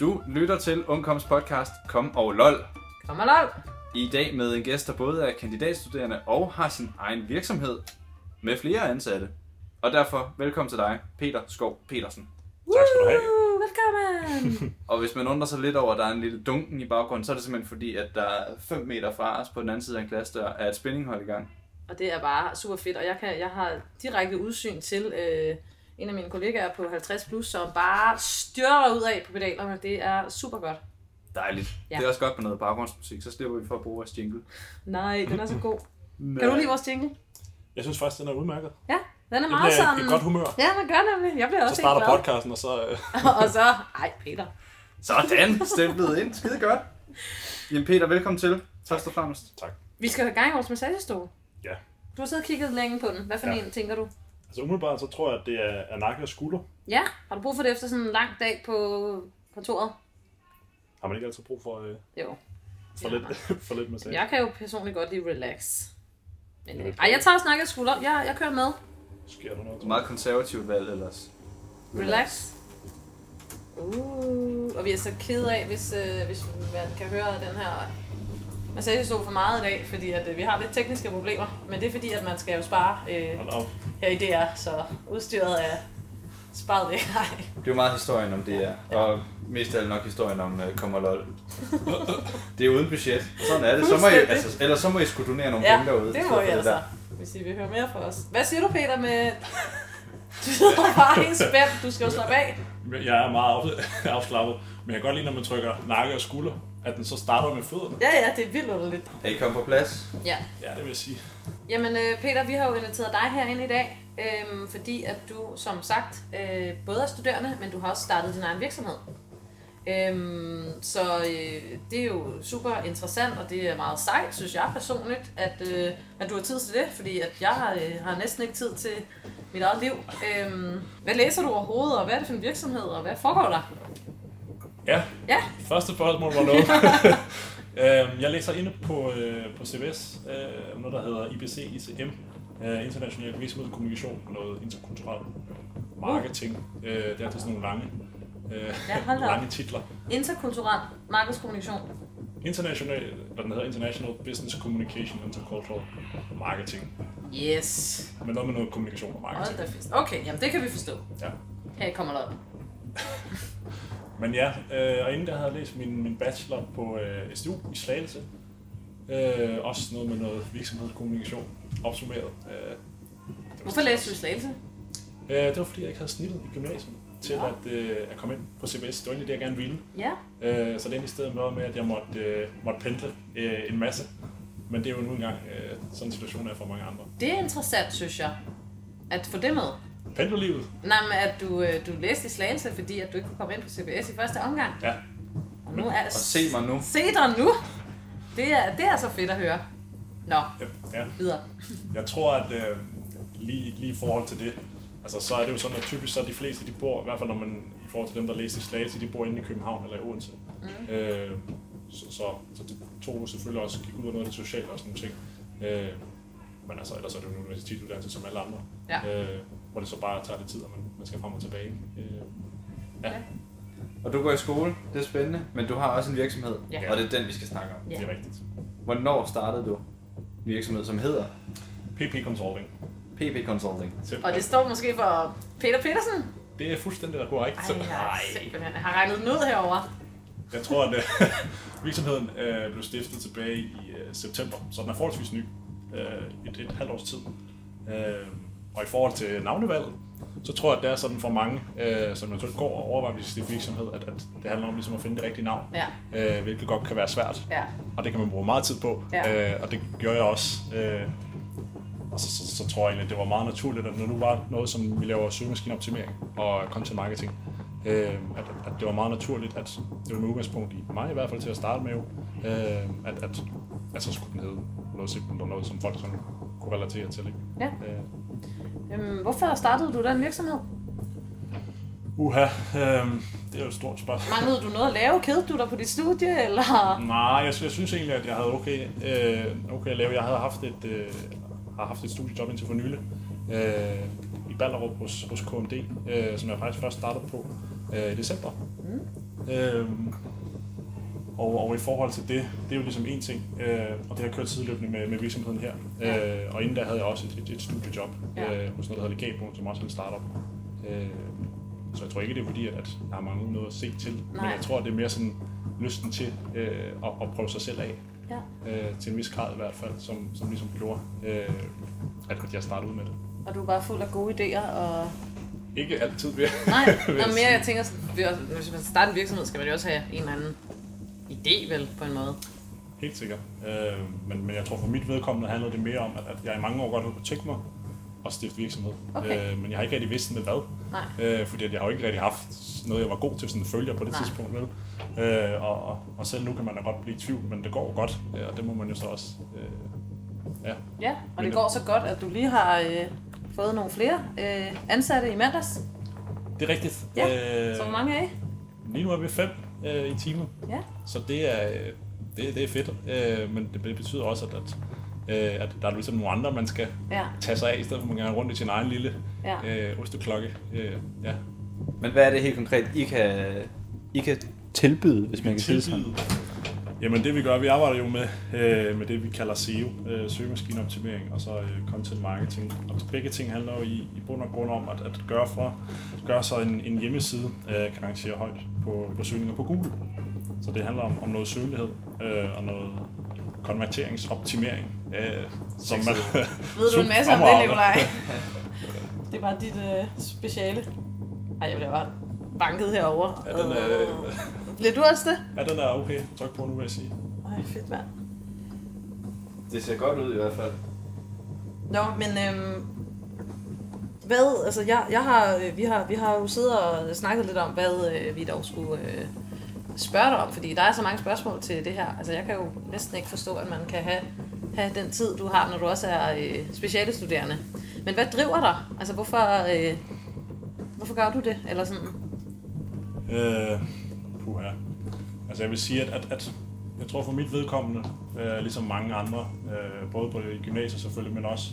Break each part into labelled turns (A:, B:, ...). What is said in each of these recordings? A: Du lytter til Ungkoms podcast Kom og LOL.
B: Kom og lol.
A: I dag med en gæst, der både er kandidatstuderende og har sin egen virksomhed med flere ansatte. Og derfor velkommen til dig, Peter Skov Petersen.
C: Tak skal du have.
B: Uh, velkommen.
A: Og hvis man undrer sig lidt over, at der er en lille dunken i baggrunden, så er det simpelthen fordi, at der er 5 meter fra os på den anden side af en klassedør er et spændinghold i gang.
B: og det er bare super fedt, og jeg, kan, jeg har direkte udsyn til øh, en af mine kollegaer på 50 plus, som bare styrter ud af på pedalerne. Det er super godt.
A: Dejligt. Ja.
B: Ja.
A: Det er også godt med noget baggrundsmusik, så slipper vi for at bruge vores jingle.
B: Nej, den er så god. Kan du lide vores jingle?
C: Jeg synes faktisk, den er udmærket.
B: Ja, den er
C: Jeg
B: meget
C: bliver i
B: sådan...
C: godt humør.
B: Ja, man gør nemlig. Jeg bliver
C: Så
B: også
C: starter
B: helt glad.
C: podcasten, og så... Øh,
B: og så... Ej, Peter.
A: Sådan, stemplet ind. Skide godt. Jamen Peter, velkommen til. Først og fremmest.
C: tak.
B: Vi skal have gang i vores massagestol.
C: Ja.
B: Du har siddet og kigget længe på den. Hvad for
C: Ja.
B: en tænker du?
C: Altså umiddelbart, så tror jeg, at det er, er nakke og skulder.
B: Ja, har du brug for det efter sådan en lang dag på kontoret?
C: Har man ikke altid brug for, øh,
B: Jo.
C: for,
B: Ja.
C: lidt, for lidt massage?
B: Jeg kan jo personligt godt lide relax. Men,
C: Ja.
B: øh, ej, jeg tager snakket skulder. Jeg, jeg kører med.
C: Sker der noget?
A: Meget konservativt valg ellers.
B: Relax. Uh, og vi er så ked af, hvis, øh, hvis man kan høre den her massagestol for meget i dag, fordi at, øh, vi har lidt tekniske problemer. Men det er fordi, at man skal jo spare øh,
C: Hold op.
B: her i DR, så udstyret er sparet væk. Ej.
A: Det er jo meget historien om det er, og mest af alt nok historien om uh, kommer lol. det er uden budget. Sådan er det. Så må I,
B: Fuldstændig.
A: altså, ellers så må I skulle donere nogle
B: Ja,
A: penge derude. i
B: det
A: stedet
B: må
A: for
B: I altså,
A: der.
B: hvis I vil høre mere fra os. Hvad siger du, Peter, med... Du sidder bare helt spændt. Du skal jo slappe af.
C: Men Jeg er meget af- afslappet, men jeg kan godt lide, når man trykker nakke og skulder, at den så starter med fødderne.
B: Ja, ja, det er vildt underligt.
A: Er I kommet på plads?
B: Ja.
C: Ja, det vil jeg sige.
B: Jamen øh, Peter, vi har jo inviteret dig herind i dag, øhm, fordi at du som sagt øh, både er studerende, men du har også startet din egen virksomhed. Øhm, så øh, det er jo super interessant, og det er meget sejt, synes jeg personligt, at, øh, at du har tid til det, fordi at jeg øh, har næsten ikke tid til mit eget liv. Øhm, hvad læser du overhovedet, og hvad er det for en virksomhed, og hvad foregår der?
C: Ja.
B: Ja.
C: Første spørgsmål var noget. Øhm, jeg læser inde på, øh, på CBS, øh, noget der hedder IBC ICM, øh, International Virksomhed Kommunikation, noget interkulturelt marketing. Øh, det er altid sådan nogle lange, øh,
B: Ja, hold da op.
C: lange titler.
B: Interkulturel markedskommunikation.
C: International, eller den hedder International Business Communication Intercultural Marketing.
B: Yes.
C: Men noget med noget kommunikation og
B: Hold
C: marketing.
B: da fest. Okay, jamen det kan vi forstå.
C: Ja.
B: Her kommer der.
C: Men ja, øh, og inden der havde jeg læst min, min bachelor på øh, SDU i Slagelse. Øh, også noget med noget virksomhedskommunikation opsummeret. Øh, det var-
B: Hvorfor læser du i Slagelse?
C: Øh, det var fordi, jeg ikke havde snittet i gymnasiet til
B: Nå.
C: at, øh, at komme ind på CBS. Det var egentlig det, jeg gerne ville.
B: Ja.
C: Øh, så det endte i stedet noget med, at jeg måtte, øh, måtte pendle øh, en masse. Men det er jo nu engang øh, sådan en situation er for mange andre.
B: Det er interessant, synes jeg, at få det med.
C: Pendlerlivet,
B: Nej, men at du, øh, du læste i Slagelse, fordi at du ikke kunne komme ind på CBS i første omgang.
C: ja.
B: Og nu er
A: Og se mig nu.
B: Se dig nu! Det er, det er så fedt at høre. Nå,
C: ja, ja.
B: videre.
C: Jeg tror, at øh, lige, lige i forhold til det, altså så er det jo sådan, at typisk så er de fleste, de bor, i hvert fald når man i forhold til dem, der læser i Slagelse, de bor inde i København eller i Odense. Mm. Øh, så, så, så det tog jo selvfølgelig også gik ud af noget af det sociale og sådan nogle ting. Øh, men altså, ellers er det jo en universitetsuddannelse som alle andre,
B: Ja.
C: øh, hvor det så bare tager lidt tid, og man, man skal frem og tilbage. Øh, ja,
B: Ja.
C: ja,
A: Og du går i skole. Det er spændende. Men du har også en virksomhed.
B: Ja.
A: Og det er den, vi skal snakke om.
B: Ja.
C: det er rigtigt.
A: Hvornår startede du en virksomhed, som hedder
C: PP Consulting.
A: PP Consulting?
B: Og det står måske for Peter Petersen.
C: det er fuldstændig korrekt.
B: Ej,
C: Så-
B: jeg har simpelthen jeg har regnet den ud herovre.
C: Jeg tror, at øh, virksomheden øh, blev stiftet tilbage i øh, september, så den er forholdsvis ny. Øh, et, et halvt års tid. Øh, og i forhold til navnevalget, så tror jeg, at det er sådan for mange, øh, som eventuelt går og overvejer, hvis det er virksomhed, at, at det handler om ligesom at finde det rigtige navn,
B: Ja,
C: øh, hvilket godt kan være svært.
B: ja.
C: Og det kan man bruge meget tid på,
B: Ja.
C: øh, og det gjorde jeg også. Øh, og så, så, så tror jeg egentlig, at det var meget naturligt, at når nu var noget, som vi laver søgemaskineoptimering og content marketing, øh, at, at det var meget naturligt, at det var med udgangspunkt i mig i hvert fald til at starte med, jo, øh, at, at, at så skulle den hedde noget simpelt og noget, som folk sådan kunne relatere til. Ikke?
B: Ja.
C: Øh,
B: Øhm, hvorfor startede du den virksomhed?
C: uha, øh, det er jo et stort spørgsmål.
B: Manglede du noget at lave? Kedede du dig på dit studie, eller?
C: Nej, jeg, sy- jeg synes egentlig, at jeg havde okay, øh, okay at lave. Jeg havde haft et, øh, har haft et studiejob indtil for nylig øh, i Ballerup hos, hos KMD, øh, som jeg faktisk først startede på øh, i december. Mm. Øhm, og, og i forhold til det, det er jo ligesom en ting, øh, og det har jeg kørt sideløbende med, med virksomheden her.
B: Ja.
C: Ja. Øh, og inden der havde jeg også et, et, et studiejob
B: Ja.
C: ja. øh, hos noget, der hedder Legabo, som også er en startup. Øh, så jeg tror ikke, det er fordi, at, at der er mange noget at se til, Nej.
B: Nej.
C: men jeg tror, det er mere sådan lysten til øh, at, at prøve sig selv af,
B: Ja.
C: øh, til en vis grad i hvert fald, som, som ligesom gjorde, øh, at at jeg startede ud med det.
B: Og du er bare fuld af gode idéer og...
C: Ikke altid ved
B: Nej, Nå,
C: vil jeg
B: mere
C: sige.
B: jeg tænker, sådan, det er også- hvis man starter en virksomhed, skal man jo også have en eller anden idé vel, på en måde.
C: Helt sikkert. Øh, men, men jeg tror for mit vedkommende handlede det mere om, at, at jeg i mange år godt havde kunne tænke mig at stifte virksomhed.
B: Okay.
C: Øh, men jeg har ikke rigtig vidst med hvad.
B: Nej.
C: Øh, fordi at jeg har jo ikke rigtig haft noget, jeg var god til sådan følger på det
B: Nej.
C: tidspunkt. Vel? Øh, og, og, og selv nu kan man da godt blive i tvivl, men det går jo godt. Øh, og det må man jo så også... Øh, ja.
B: Ja, og det
C: Men-
B: går så godt, at du lige har øh, fået nogle flere øh, ansatte i mandags.
C: Det er rigtigt.
B: Ja,
C: øh,
B: Så hvor mange er I?
C: Lige nu er vi fem øh, i timen.
B: Ja.
C: Så det er, øh, det, det er fedt. Øh, men det betyder også, at, at, øh, at der er ligesom nogle andre, man skal
B: Ja,
C: tage sig af, i stedet for at man kan rende rundt i sin egen lille
B: ja.
C: øh, osteklokke. Øh, ja.
A: Men hvad er det helt konkret, I kan, I kan tilbyde, hvis man kan sige det sådan?
C: Tilbyde. Jamen det vi gør, vi arbejder jo med, øh, med det vi kalder SEO, øh, søgemaskineoptimering og så øh, content marketing. Og begge ting handler jo i, i bund og grund om at, at gøre, for, gøre så en, en hjemmeside øh, kan rangere højt på, på søgninger på Google. Så det handler om, om noget søgelighed øh, og noget konverteringsoptimering, øh, som man
B: Ved du en masse om det,
C: fremragende.
B: Nikolaj? det er bare dit øh, speciale. Ej, jeg bliver bare banket herover.
C: Ja, den øh, er-
B: Bliver du også det?
C: Ja, den er okay. Tryk på nu, vil jeg sige.
B: Ej, fedt mand.
A: Det ser godt ud i hvert fald.
B: Nå, men øhm, hvad, altså jeg, jeg har, øh, vi, har, vi har jo siddet og snakket lidt om, hvad øh, vi dog skulle øh, spørge dig om, fordi der er så mange spørgsmål til det her. Altså jeg kan jo næsten ikke forstå, at man kan have, have den tid, du har, når du også er øh, specialestuderende. Men hvad driver dig? Altså hvorfor, øh, hvorfor gør du det? Eller sådan,
C: Øh, puha. Altså jeg vil sige, at, at, at jeg tror for mit vedkommende, øh, ligesom mange andre, øh, både på gymnasiet selvfølgelig, men også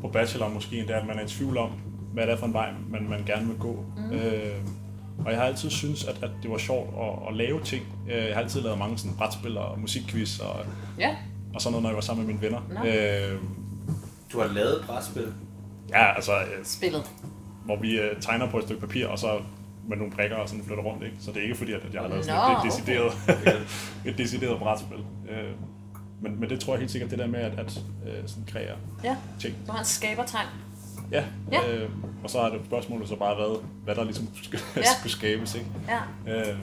C: på bachelor måske, det er, at man er i tvivl om, hvad det er for en vej, man, man gerne vil gå. Mm. Øh, og jeg har altid syntes, at, at det var sjovt at, at lave ting. Øh, Jeg har altid lavet mange sådan brætspil og musikquiz og,
B: ja,
C: og sådan noget, når jeg var sammen med mine venner.
B: Nå.
C: Øh,
A: Du har lavet brætspil.
C: ja, altså, øh,
B: spillet.
C: hvor vi øh, tegner på et stykke papir, og så med nogle prikker og sådan flytter rundt, ikke? Så det er ikke fordi, at jeg har lavet sådan
B: Nå,
C: et, et,
B: okay.
C: decideret, et decideret brætspil. Øh, men, men det tror jeg helt sikkert, det der med at, at øh, sådan kreere
B: Ja,
C: ting.
B: du har en skabertegn.
C: Ja,
B: Ja.
C: Øh, og så har det spørgsmålet så bare været, hvad der ligesom skulle,
B: Ja.
C: ja. skulle skabes, ikke?
B: Ja.
C: Øh,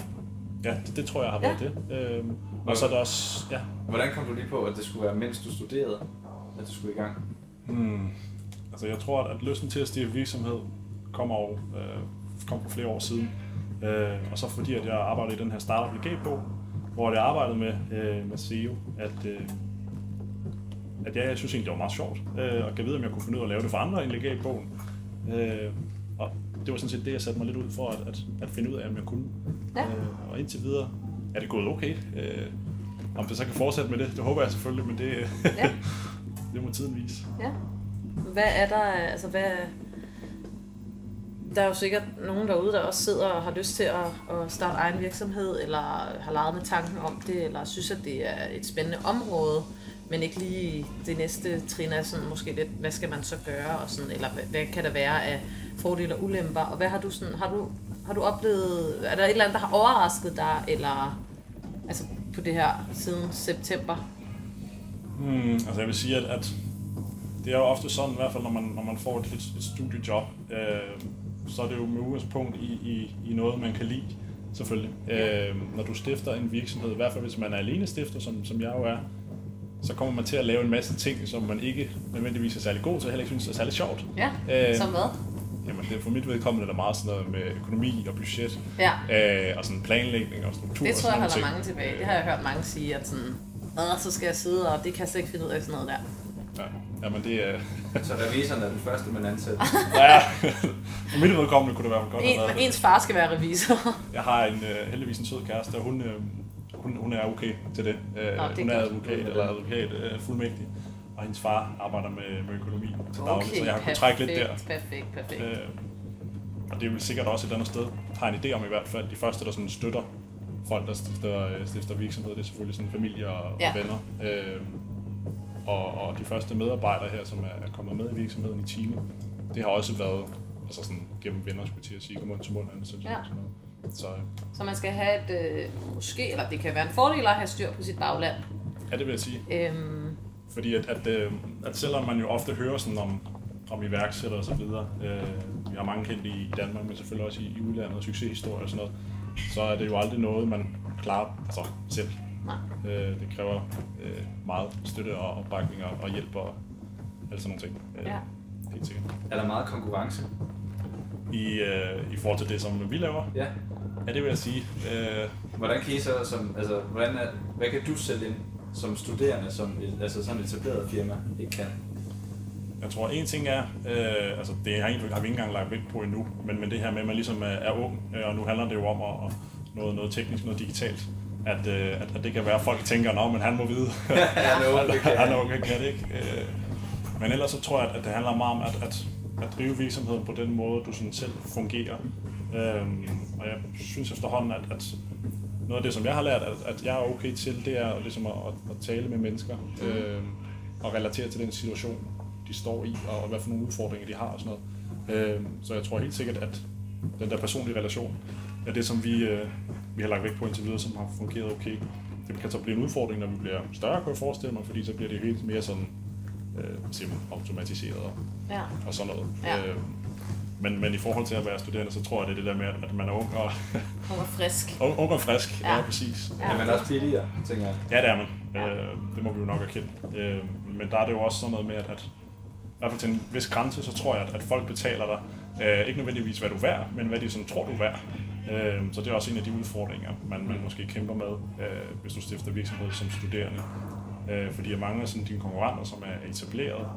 C: ja, det, det tror jeg har været
B: Ja.
C: ja. det. Øh, og så er der også, ja,
A: Hvordan kom du lige på, at det skulle være, mens du studerede, at du skulle i gang?
C: Hmm. Altså jeg tror, at, at lysten til at stifte virksomhed kommer jo, øh, kom for flere år siden. Øh, og så fordi, at jeg arbejdede i den her startup i på, hvor jeg arbejdede med, øh, med SEO, at, øh, at jeg, jeg synes egentlig, det var meget sjovt. Øh, og jeg ved, om jeg kunne finde ud af at lave det for andre end legatbogen. Øh, og det var sådan set det, jeg satte mig lidt ud for, at, at, at finde ud af, om jeg kunne.
B: Ja.
C: Øh, og indtil videre er det gået okay. Øh, om det så kan fortsætte med det, det håber jeg selvfølgelig, men det,
B: Ja.
C: det må tiden vise.
B: Ja. Hvad er der, altså hvad... Der er jo sikkert nogen derude, der også sidder og har lyst til at, at starte egen virksomhed, eller har leget med tanken om det, eller synes, at det er et spændende område, men ikke lige det næste trin er sådan måske lidt, hvad skal man så gøre, og sådan, eller hvad, hvad kan der være af fordele og ulemper, og hvad har du sådan, har du, har du oplevet, er der et eller andet, der har overrasket dig, eller altså på det her siden september?
C: Hmm, altså jeg vil sige, at, at det er jo ofte sådan, i hvert fald når man, når man får et, et, et studiejob, øh, så er det jo med udgangspunkt i, i, i noget, man kan lide, selvfølgelig. Øh, når du stifter en virksomhed, i hvert fald hvis man er alene stifter, som, som jeg jo er, så kommer man til at lave en masse ting, som man ikke nødvendigvis er særlig god til, og heller ikke synes er særlig sjovt.
B: Ja,
C: Øh,
B: som hvad?
C: Jamen, det er for mit vedkommende der er meget sådan noget med økonomi og budget,
B: Ja.
C: øh, og sådan planlægning og struktur
B: Det
C: og
B: tror jeg
C: sådan nogle
B: holder
C: ting.
B: mange tilbage.
C: Øh,
B: Det har jeg hørt mange sige, at sådan, "Åh, så skal jeg sidde, og det kan jeg slet ikke finde ud af sådan noget der.
C: ja. Jamen, det er...
A: Så revisoren er den første, man ansætter.
C: Ja, for mit vedkommende kunne det være godt at have
B: En,
C: været.
B: ens far skal være revisor.
C: Jeg har en, øh, heldigvis en sød kæreste, og hun, øh, hun, hun er okay til det. Øh,
B: Nå, det er
C: hun er
B: godt.
C: advokat, eller advokat øh, fuldmægtig, og hendes far arbejder med, med økonomi til daglig, så jeg har kunnet
B: perfekt,
C: trække lidt der.
B: Perfekt, perfekt.
C: Øh, og det er vel sikkert også et eller andet sted, har en idé om i hvert fald, de første, der sådan støtter folk, der stifter, øh, stifter virksomhed, det er selvfølgelig sådan familie og,
B: Ja.
C: og venner. Øh, og, og de første medarbejdere her, som er, er kommet med i virksomheden i Chile, det har også været altså sådan, gennem venner, skulle jeg til at sige, mund til mund, eller sådan
B: Ja.
C: ja. sådan noget. Så øh,
B: Så man skal have et, øh, måske, eller det kan være en fordel at have styr på sit bagland.
C: ja, det vil jeg sige.
B: Øhm,
C: Fordi at, at, øh, at selvom man jo ofte hører sådan om, om iværksættere og så videre, øh, vi har mange kendte i Danmark, men selvfølgelig også i, i udlandet, succeshistorier og sådan noget, så er det jo aldrig noget, man klarer altså, selv.
B: nej.
C: Øh, det kræver øh, meget støtte og opbakning og, og hjælp og alle sådan nogle ting. Øh,
B: Ja.
C: Helt sikkert.
A: Er der meget konkurrence?
C: I, øh, I forhold til det, som vi laver,
A: Ja.
C: ja, det vil jeg sige, øh,
A: Hvordan kan I så, som, altså, hvordan er, hvad kan du sælge ind som studerende, som et- altså sådan et etableret firma ikke kan?
C: Jeg tror, en ting er, øh, altså det har, egentlig- har vi ikke engang lagt vægt på endnu, men, men det her med, at man ligesom er, er ung, øh, og nu handler det jo om at, at noget, noget teknisk, noget digitalt, at, øh, at, at det kan være, at folk tænker, nå, men han må vide,
A: Han er ung, det kan
C: han er
A: han.
C: ung, han kan det ikke. Øh, men ellers så tror jeg, at det handler meget om at, at, at drive virksomheden på den måde, du sådan selv fungerer. Øhm, og jeg synes efterhånden, at, at noget af det, som jeg har lært, at, at jeg er okay til, det er ligesom at, at, at tale med mennesker øh, og relatere til den situation, de står i, og, og hvad for nogle udfordringer de har og sådan noget. Øh, så jeg tror helt sikkert, at den der personlige relation er det, som vi, øh, vi har lagt vægt på indtil videre, som har fungeret okay. Det kan så blive en udfordring, når vi bliver større, kunne jeg forestille mig, fordi så bliver det helt mere sådan øh, hvad siger man, automatiseret og,
B: Ja.
C: og sådan noget.
B: Ja.
C: Øh, men, men i forhold til at være studerende, så tror jeg, det er det der med, at- at man er ung og,
B: Hun var frisk.
C: ung, ung og frisk.
B: Ja.
C: Ja, ja præcis.
B: Ja.
A: Er man også billigere, tænker jeg.
C: Ja, det er man.
B: Ja.
C: Øh, det må vi jo nok erkende. Øh, men der er det jo også sådan noget med, at, at i hvert fald til en vis grænse, så tror jeg, at, at folk betaler dig. Øh, ikke nødvendigvis, hvad du er værd, men hvad de sådan tror, du er værd. Øh, så det er også en af de udfordringer, man, man måske kæmper med, øh, hvis du stifter virksomhed som studerende. Øh, fordi at mange af sådan, dine konkurrenter, som er etableret,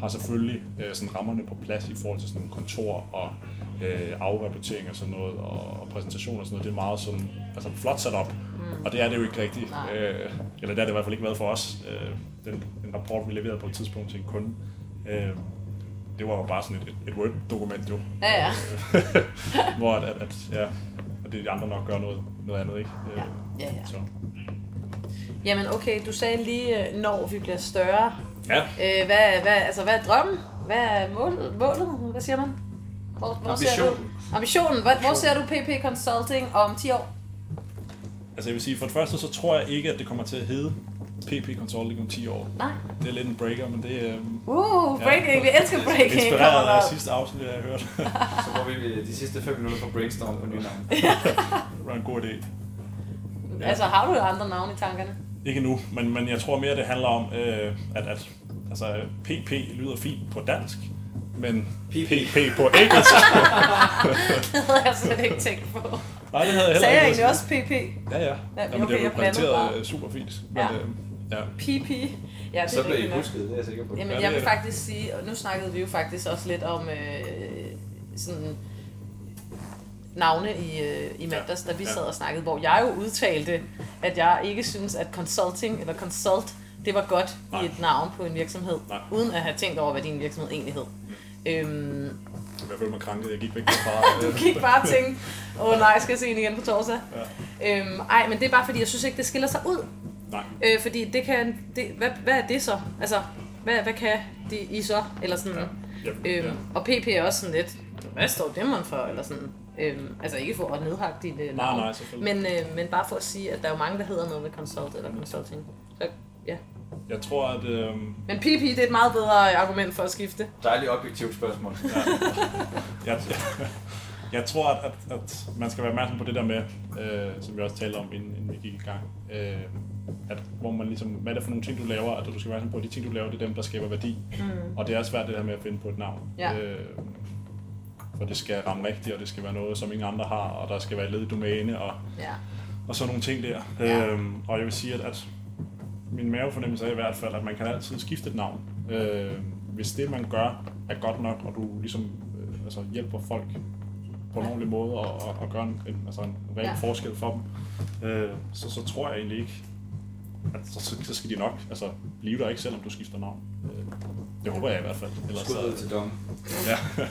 C: har selvfølgelig øh, sådan rammerne på plads i forhold til sådan nogle kontor og øh, afrapportering og sådan noget, og, og præsentation og sådan noget. Det er meget sådan, altså flot sat op, mm. og det er det jo ikke rigtigt.
B: Nej.
C: Øh, eller det har det i hvert fald ikke været for os. Øh, den, den rapport, vi leverede på et tidspunkt til en kunde, øh, det var jo bare sådan et, et, et Word-dokument jo,
B: Ja, ja.
C: hvor at, at, at, ja, at det, de andre nok gør noget, noget andet, ikke? Øh,
B: Ja. Ja, ja.
C: Så.
B: Jamen okay, du sagde lige, øh, når vi bliver større.
C: ja,
B: Øh, hvad, hvad, altså, hvad er drømmen? Hvad er målet? målet? Hvad siger man? Hvor, hvor Ser du,
A: Ambitionen.
B: ambitionen. Hvor, hvor ser du PP Consulting om 10 år?
C: altså jeg vil sige, for det første, så tror jeg ikke, at det kommer til at hedde PP Consulting om 10 år.
B: Nej.
C: Det er lidt en breaker, men det er øh,
B: Uh, breaking. Vi elsker breaking.
C: inspireret
B: Kommer
C: af
B: der.
C: sidste afsnit, jeg har hørt.
A: Så bruger vi de sidste 5 minutter på brainstorm på nye navn.
C: det var en god idé. Ja.
B: Altså, har du andre navne i tankerne?
C: Ikke nu, men, men jeg tror mere, det handler om, øh, at, at altså, PP lyder fint på dansk, men
A: PP.
C: PP på engelsk.
B: Det havde jeg slet ikke tænkt på.
C: Nej, det havde jeg heller
B: Sagde jeg
C: ikke.
B: egentlig også PP?
C: Ja, ja.
B: Ja,
C: ja
B: okay,
C: Jamen, det er
B: jeg
C: jo
B: blandede bare.
C: præsenteret øh, super fint. Men,
B: Ja.
C: ja. Øh, ja.
B: PP? Ja, det
A: Så
B: er
A: bliver I
B: rigtigt nok.
A: husket, det er jeg sikker på.
B: Jamen,
C: Ja,
B: jeg
C: det
B: vil
C: er det.
B: faktisk sige, og nu snakkede vi jo faktisk også lidt om øh, sådan navne i, øh, i mandags, da vi
C: Ja.
B: sad og snakkede, hvor jeg jo udtalte, at jeg ikke synes, at consulting eller consult, det var godt
C: Nej.
B: i et navn på en virksomhed,
C: Nej. Mm.
B: uden at have tænkt over, hvad din virksomhed egentlig hed. Øhm,
C: I hvert fald mig kranket. Jeg gik væk derfra.
B: du kan ikke bare tænke, åh oh, nej, skal jeg se hende igen på torsdag? Ja. Øhm, ej, men det er bare fordi, jeg synes ikke, det skiller sig ud.
C: Nej.
B: Øh, fordi det kan, det, hvad, hvad er det så? Altså, hvad, hvad kan de, I så? Eller sådan, ja.
C: Ja.
B: Øhm,
C: Ja.
B: Og PP er også sådan lidt, hvad står Dæmmeren for? Eller sådan, øhm, altså ikke for at nedhakke dit øh, navn.
C: nej, selvfølgelig.
B: men, øh, men bare for at sige, at der er jo mange, der hedder noget med consult eller consulting. Så, ja.
C: Jeg tror, at... Øh,
B: Men PP, det er et meget bedre øh, argument for at skifte.
A: Dejligt objektivt spørgsmål.
C: jeg, jeg tror, at, at, at man skal være opmærksom på det der med, øh, som vi også talte om, inden, inden vi gik i gang, øh, at hvor man ligesom, hvad er det for nogle ting, du laver, at du skal være opmærksom på, at de ting, du laver, det er dem, der skaber værdi. Mm. Og det er svært det her med at finde på et navn.
B: Ja.
C: Øh, for det skal ramme rigtigt, og det skal være noget, som ingen andre har, og der skal være et ledigt domæne, og
B: Ja.
C: og sådan nogle ting der.
B: Ja.
C: Ja. Øhm, og jeg vil sige, at, at min mavefornemmelse er i hvert fald, at man kan altid skifte et navn. Øh, hvis det, man gør, er godt nok, og du ligesom øh, altså hjælper folk på en
B: Ja.
C: ordentlig måde og, og, og gør en, en, altså en reel
B: Ja.
C: ja. forskel for dem, øh, så, så tror jeg egentlig ikke, at så, så- så skal de nok altså, blive der ikke, selvom du skifter navn. Øh, det håber jeg i hvert fald. Ellers,
A: Skud ud
C: så,
A: til dom.
C: ja.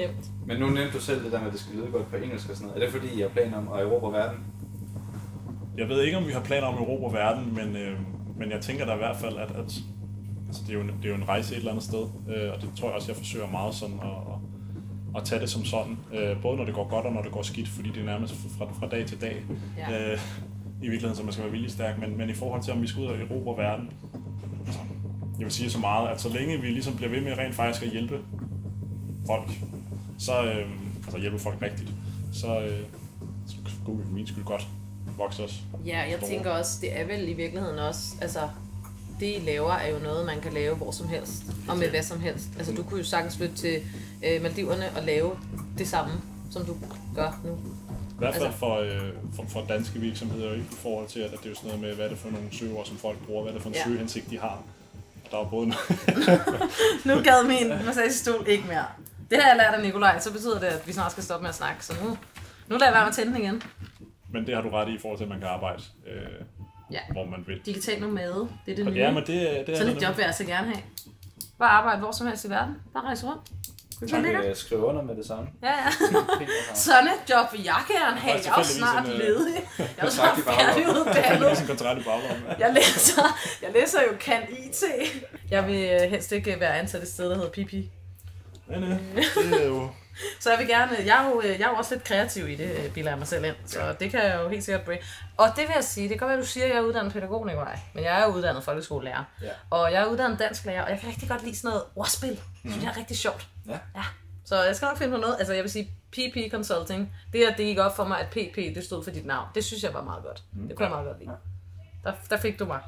B: Nemt.
A: Men nu nævnte du selv det der med, at det skal lyde godt på engelsk og sådan noget. Er det fordi, I har planer om at erobre verden?
C: Jeg ved ikke, om vi har planer om at erobre verden, men, øh, men jeg tænker da i hvert fald, at, at altså, det, er jo en, det er jo en rejse et eller andet sted, øh, og det tror jeg også, jeg forsøger meget sådan at, at, at tage det som sådan. Øh, både når det går godt og når det går skidt, fordi det er nærmest fra, fra dag til dag.
B: Ja.
C: Øh, I virkeligheden, så man skal være vildt stærk, men, men i forhold til, om vi skal ud og erobre verden, altså, jeg vil sige så meget, at så længe vi ligesom bliver ved med rent faktisk at hjælpe folk, så øh, altså hjælpe folk rigtigt, så, øh, så kunne vi for min skyld godt vokse os.
B: Ja, jeg
C: Store.
B: tænker også, det er vel i virkeligheden også, altså, det I laver er jo noget, man kan lave hvor som helst, og med hvad som helst. Altså,
C: Mm.
B: du kunne jo sagtens flytte til øh, Maldiverne og lave det samme, som du gør nu.
C: I hvert fald
B: Altså-
C: for, øh, for, for danske virksomheder, ikke? i forhold til, at det er jo sådan noget med, hvad er det for nogle søgeord, som folk bruger, hvad er det for en
B: Ja.
C: ja. søgehensigt, de har. Der er jo både
B: Nu gad min massagestol ikke mere. Det har jeg lært af Nikolaj, så betyder det, at vi snart skal stoppe med at snakke, så nu, nu lader jeg være med at tænde den igen.
C: Men det har du ret i, i forhold til, at man kan arbejde, øh,
B: Ja.
C: hvor man vil.
B: Digital nomade, det er det
C: Og
B: nye.
C: ja, men det, er- det er
B: Sådan
C: det
B: et job vil jeg altså gerne have. Bare arbejde hvor som helst i verden. Bare rejse rundt. Det er
A: Man
B: lækkert.
A: kan øh, skrive under med det samme.
B: Ja, ja. Sådan et job vil jeg gerne have. Jeg er også snart
C: tilfældigvis en, øh,
B: ledig. Jeg er jo snart
A: kontrakt i baglommen.
C: Jeg
B: færdiguddannet.
C: læser en kontrakt i baglommen.
B: Jeg læser, jeg læser jo kan IT. Jeg vil øh, helst ikke være ansat et sted, der hedder Pipi.
C: Men øh, det er jo...
B: Så jeg vil gerne, jeg er jo, øh, jeg er jo også lidt kreativ i det, øh, bilder jeg mig selv ind. Så
C: Ja.
B: det kan jeg jo helt sikkert bringe. Og det vil jeg sige, det kan godt være, du siger, at jeg er uddannet pædagog, Nikolaj. Men jeg er uddannet folkeskolelærer.
A: Ja.
B: Og jeg er uddannet dansklærer, og jeg kan rigtig godt lide sådan noget ordspil. Jeg synes,
C: Mhm.
B: det er rigtig sjovt.
A: Ja.
B: ja. Så jeg skal nok finde på noget. Altså jeg vil sige, PP Consulting, det at det gik op for mig, at PP, det stod for dit navn. Det synes jeg var meget godt.
C: Mhm.
B: Det kunne jeg meget godt lide. Der, der fik du mig.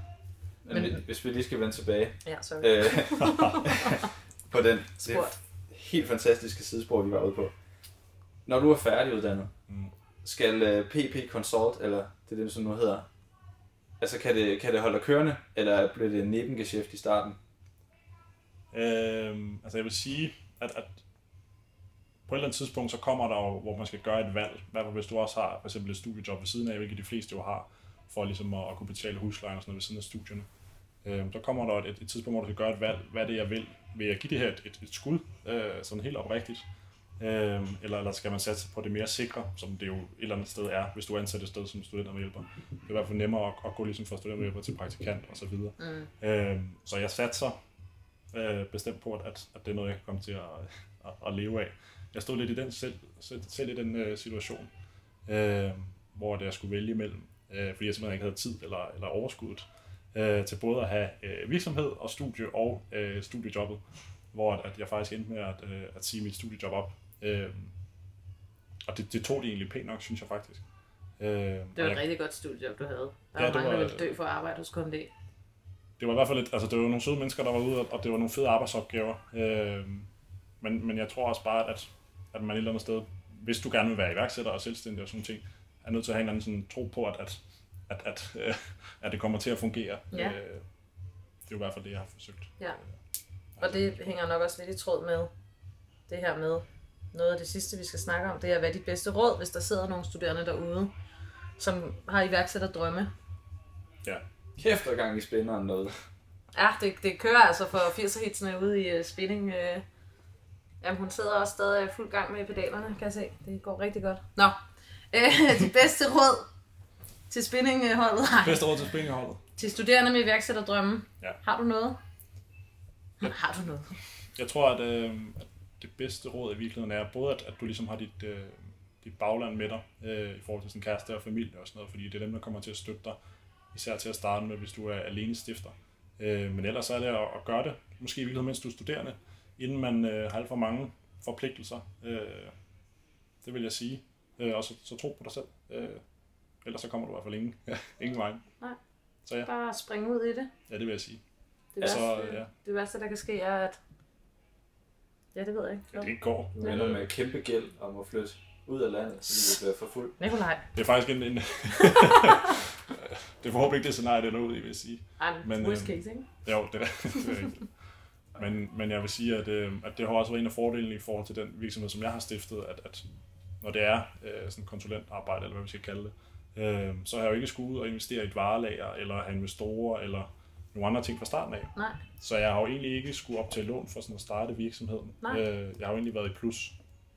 A: Men vi- hvis vi lige skal vende tilbage
B: Ja, sorry.
A: øh, på den det
B: Spurgt.
A: helt fantastiske sidespor, vi var ude på. Når du er færdiguddannet,
C: Mm.
A: skal øh, PP Consult, eller det er det, som nu hedder, altså kan det, kan det holde dig kørende, eller bliver det nebengeschæft i starten?
C: Øh, altså jeg vil sige, at, at på et eller andet tidspunkt, så kommer der jo, hvor man skal gøre et valg. Hvad hvis du også har for eksempel et studiejob ved siden af, hvilket de fleste jo har, for ligesom at, at kunne betale huslejen og sådan noget ved siden af studierne. Øh, der kommer der et, et tidspunkt, hvor du skal gøre et valg. Hvad er det, jeg vil? Vil jeg give det her et, et, et skud, øh, sådan helt oprigtigt? Øh, eller, eller skal man satse på det mere sikre, som det jo et eller andet sted er, hvis du er ansat et sted som studentermedhjælper. Det er i hvert fald nemmere at, at gå ligesom fra studentermedhjælper til praktikant osv. Mm. Øh, så jeg satser øh, bestemt på, at, at- at det er noget, jeg kan komme til at, at, at leve af. Jeg stod lidt i den selv, selv, selv i den øh, situation, øh, hvor det, jeg skulle vælge imellem, øh, fordi jeg simpelthen ikke havde tid eller, eller overskuddet øh, til både at have øh, virksomhed og studie og øh, studiejobbet, hvor at, at jeg faktisk endte med at, øh, at sige mit studiejob op. Øh, og det, det tog det egentlig pænt nok, synes jeg faktisk. Øh, det,
B: Det var et rigtig godt studiejob, du havde. Der
C: Ja,
B: ja, var
C: det
B: mange, der
C: var-
B: ville dø for at arbejde hos KMD.
C: det var i hvert fald et, altså det var nogle søde mennesker, der var ude, og det var nogle fede arbejdsopgaver. Øh, men, men jeg tror også bare, at, at man et eller andet sted, hvis du gerne vil være iværksætter og selvstændig og sådan nogle ting, er nødt til at have en eller anden sådan tro på, at, at, at, at, øh, at det kommer til at fungere.
B: Ja.
C: Øh, det er jo i hvert fald det, jeg har forsøgt.
B: Ja. Og det hænger nok også lidt i tråd med det her med noget af det sidste, vi skal snakke om, det er, hvad er dit bedste råd, hvis der sidder nogle studerende derude, som har iværksætter drømme.
C: Ja.
A: Kæft, der er gang i spænderen noget.
B: Ja, det, det kører altså for 80'er hitsene ude i uh, spinning. Uh, jamen, hun sidder også stadig i fuld gang med pedalerne, kan jeg se. Det går rigtig godt. Nå, uh, dit bedste råd til spinningholdet. Nej,
C: Bedste råd til springerholdet?
B: til studerende med iværksætterdrømme.
C: Ja.
B: Har du noget? Har du noget?
C: Jeg tror, at, øh, at det bedste råd i virkeligheden er både, at, at du ligesom har dit, øh, dit bagland med dig øh, i forhold til sådan kæreste og familie og sådan noget, fordi det er dem, der kommer til at støtte dig, især til at starte med, hvis du er alene stifter. Øh, men ellers er det at, at gøre det, måske i virkeligheden, mens du er studerende, inden man øh, har alt for mange forpligtelser. Øh, det vil jeg sige. Øh, og så, så tro på dig selv. Øh, ellers så kommer du i hvert fald ingen, ingen vej.
B: Nej.
C: Så ja,
B: Bare spring ud i det.
C: ja, det vil jeg sige.
B: Det
C: Altså,
B: værste, altså,
C: ja.
B: ja. det værste, der kan ske, er at... Ja, det ved jeg ikke.
C: Ja, det går.
A: Du ender med kæmpe gæld og må flytte ud af landet, fordi du bliver for fuld.
B: Nikolaj.
C: Det er faktisk en... en det er forhåbentlig ikke det scenarie, det lå ud i, vil jeg sige.
B: Ej,
C: Men,
B: men, worst
C: øhm,
B: case, ikke?
C: Jo, det er, det er rigtigt. Men, men jeg vil sige, at, øh, at det har også været en af fordelene i forhold til den virksomhed, som jeg har stiftet, at, at når det er øh, sådan konsulentarbejde, eller hvad vi skal kalde det, øh, så har jeg jo ikke skulle ud og investere i et varelager, eller have investorer, eller nogle andre ting fra starten af.
B: Nej.
C: Så jeg har jo egentlig ikke skulle op til lån for sådan at starte virksomheden.
B: Nej.
C: Øh, jeg har jo egentlig været i plus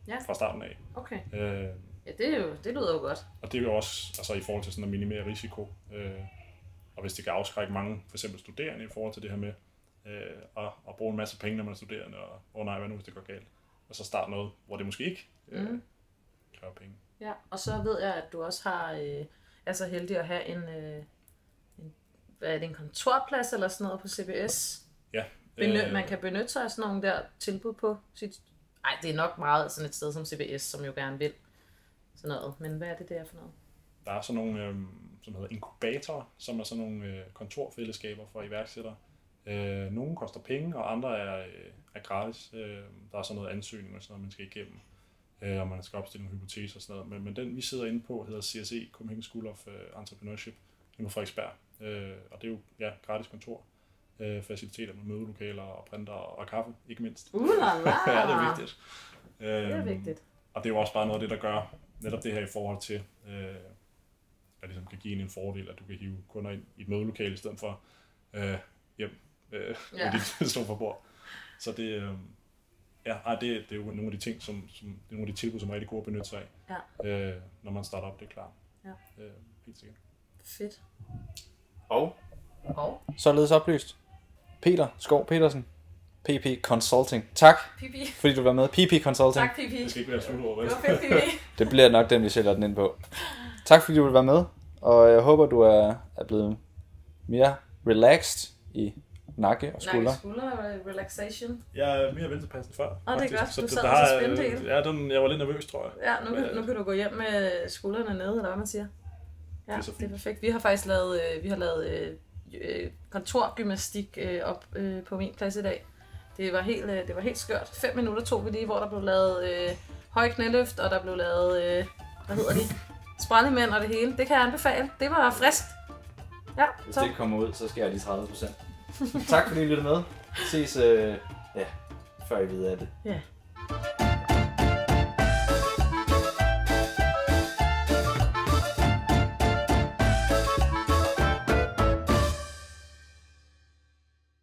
B: Ja.
C: fra starten af.
B: Okay.
C: Øh,
B: Ja, det, er jo, det lyder jo godt.
C: Og det er jo også altså, i forhold til sådan at minimere risiko. Øh, og hvis det kan afskrække mange, for eksempel studerende, i forhold til det her med øh, at, at bruge en masse penge, når man er studerende, og åh oh nej, hvad nu hvis det går galt? Og så starte noget, hvor det måske ikke øh,
B: Mhm.
C: kræver penge.
B: Ja, og så ved jeg, at du også har, øh, er så heldig at have en, øh, en, hvad er det, en kontorplads eller sådan noget på CBS.
C: Ja,
B: Benø- øh,
C: Øh,
B: Man kan benytte sig af sådan nogle der tilbud på sit... Ej, det er nok meget sådan et sted som CBS, som jo gerne vil sådan noget. Men hvad er det der for noget?
C: Der er sådan nogle, øh, som hedder inkubatorer, som er sådan nogle øh, kontorfællesskaber for iværksættere. Øh, nogle koster penge, og andre er, øh, er gratis. Øh, der er sådan noget ansøgning og sådan noget, man skal igennem, øh, og man skal opstille nogle hypoteser og sådan noget. Men, men den, vi sidder inde på, hedder CSE, Copenhagen School of øh, Entrepreneurship, inde på Frederiksberg. Øh, og det er jo ja, gratis kontor, øh, faciliteter med mødelokaler og printer og kaffe, ikke mindst.
B: Uh, la, la.
C: ja, det er vigtigt. Øh,
B: Det er vigtigt.
C: og det er jo også bare noget af det, der gør netop det her i forhold til, øh, at ligesom kan give en en fordel, at du kan hive kunder ind i et mødelokale, i stedet for øh, hjem øh,
B: Ja.
C: ja. dit stå for bord. Så det, øh, ja, ej, det, det er jo nogle af de ting, som, som det er nogle af de tilbud, som er rigtig gode at benytte sig af, ja. øh, når man starter op, det er klart.
B: Ja.
C: Øh, helt sikkert.
B: Fedt.
A: Og
B: Og
A: således oplyst, Peter Skov Petersen, PP Consulting. Tak,
B: Pipi.
A: fordi du var med. PP Consulting.
B: Tak, Pipi.
C: Det skal ikke være slutord, vel?
B: Det var fedt, Pipi.
A: Det bliver nok den, vi sælger den ind på. Tak fordi du vil være med, og jeg håber, du er, er blevet mere relaxed i nakke og skulder.
B: Nakke skulder og relaxation.
C: Jeg er mere veltilpassende før.
B: er godt. Du sad
C: der
B: og så
C: er-
B: spændte hele.
C: Ja, den, jeg var lidt nervøs, tror jeg.
B: Ja, nu,
C: Men,
B: kan, nu kan du gå hjem med skuldrene nede, eller hvad man siger. Ja,
C: Det
B: det
C: er
B: er,
C: så
B: det er
C: fint.
B: perfekt. Vi har faktisk lavet, øh, vi har lavet øh, øh, kontorgymnastik øh, op øh, på min plads i dag. Det var helt, øh, det var helt skørt. 5 minutter tog vi lige, hvor der blev lavet øh, høj knæløft, og der blev lavet, øh, hvad hedder de, sprællemænd og det hele. Det kan jeg anbefale. Det var frisk. Ja,
A: Hvis
B: så
A: det ikke kommer ud, så skærer de 30 procent. tak fordi I lyttede med. Ses, øh, ja, før I ved af det.
B: Ja.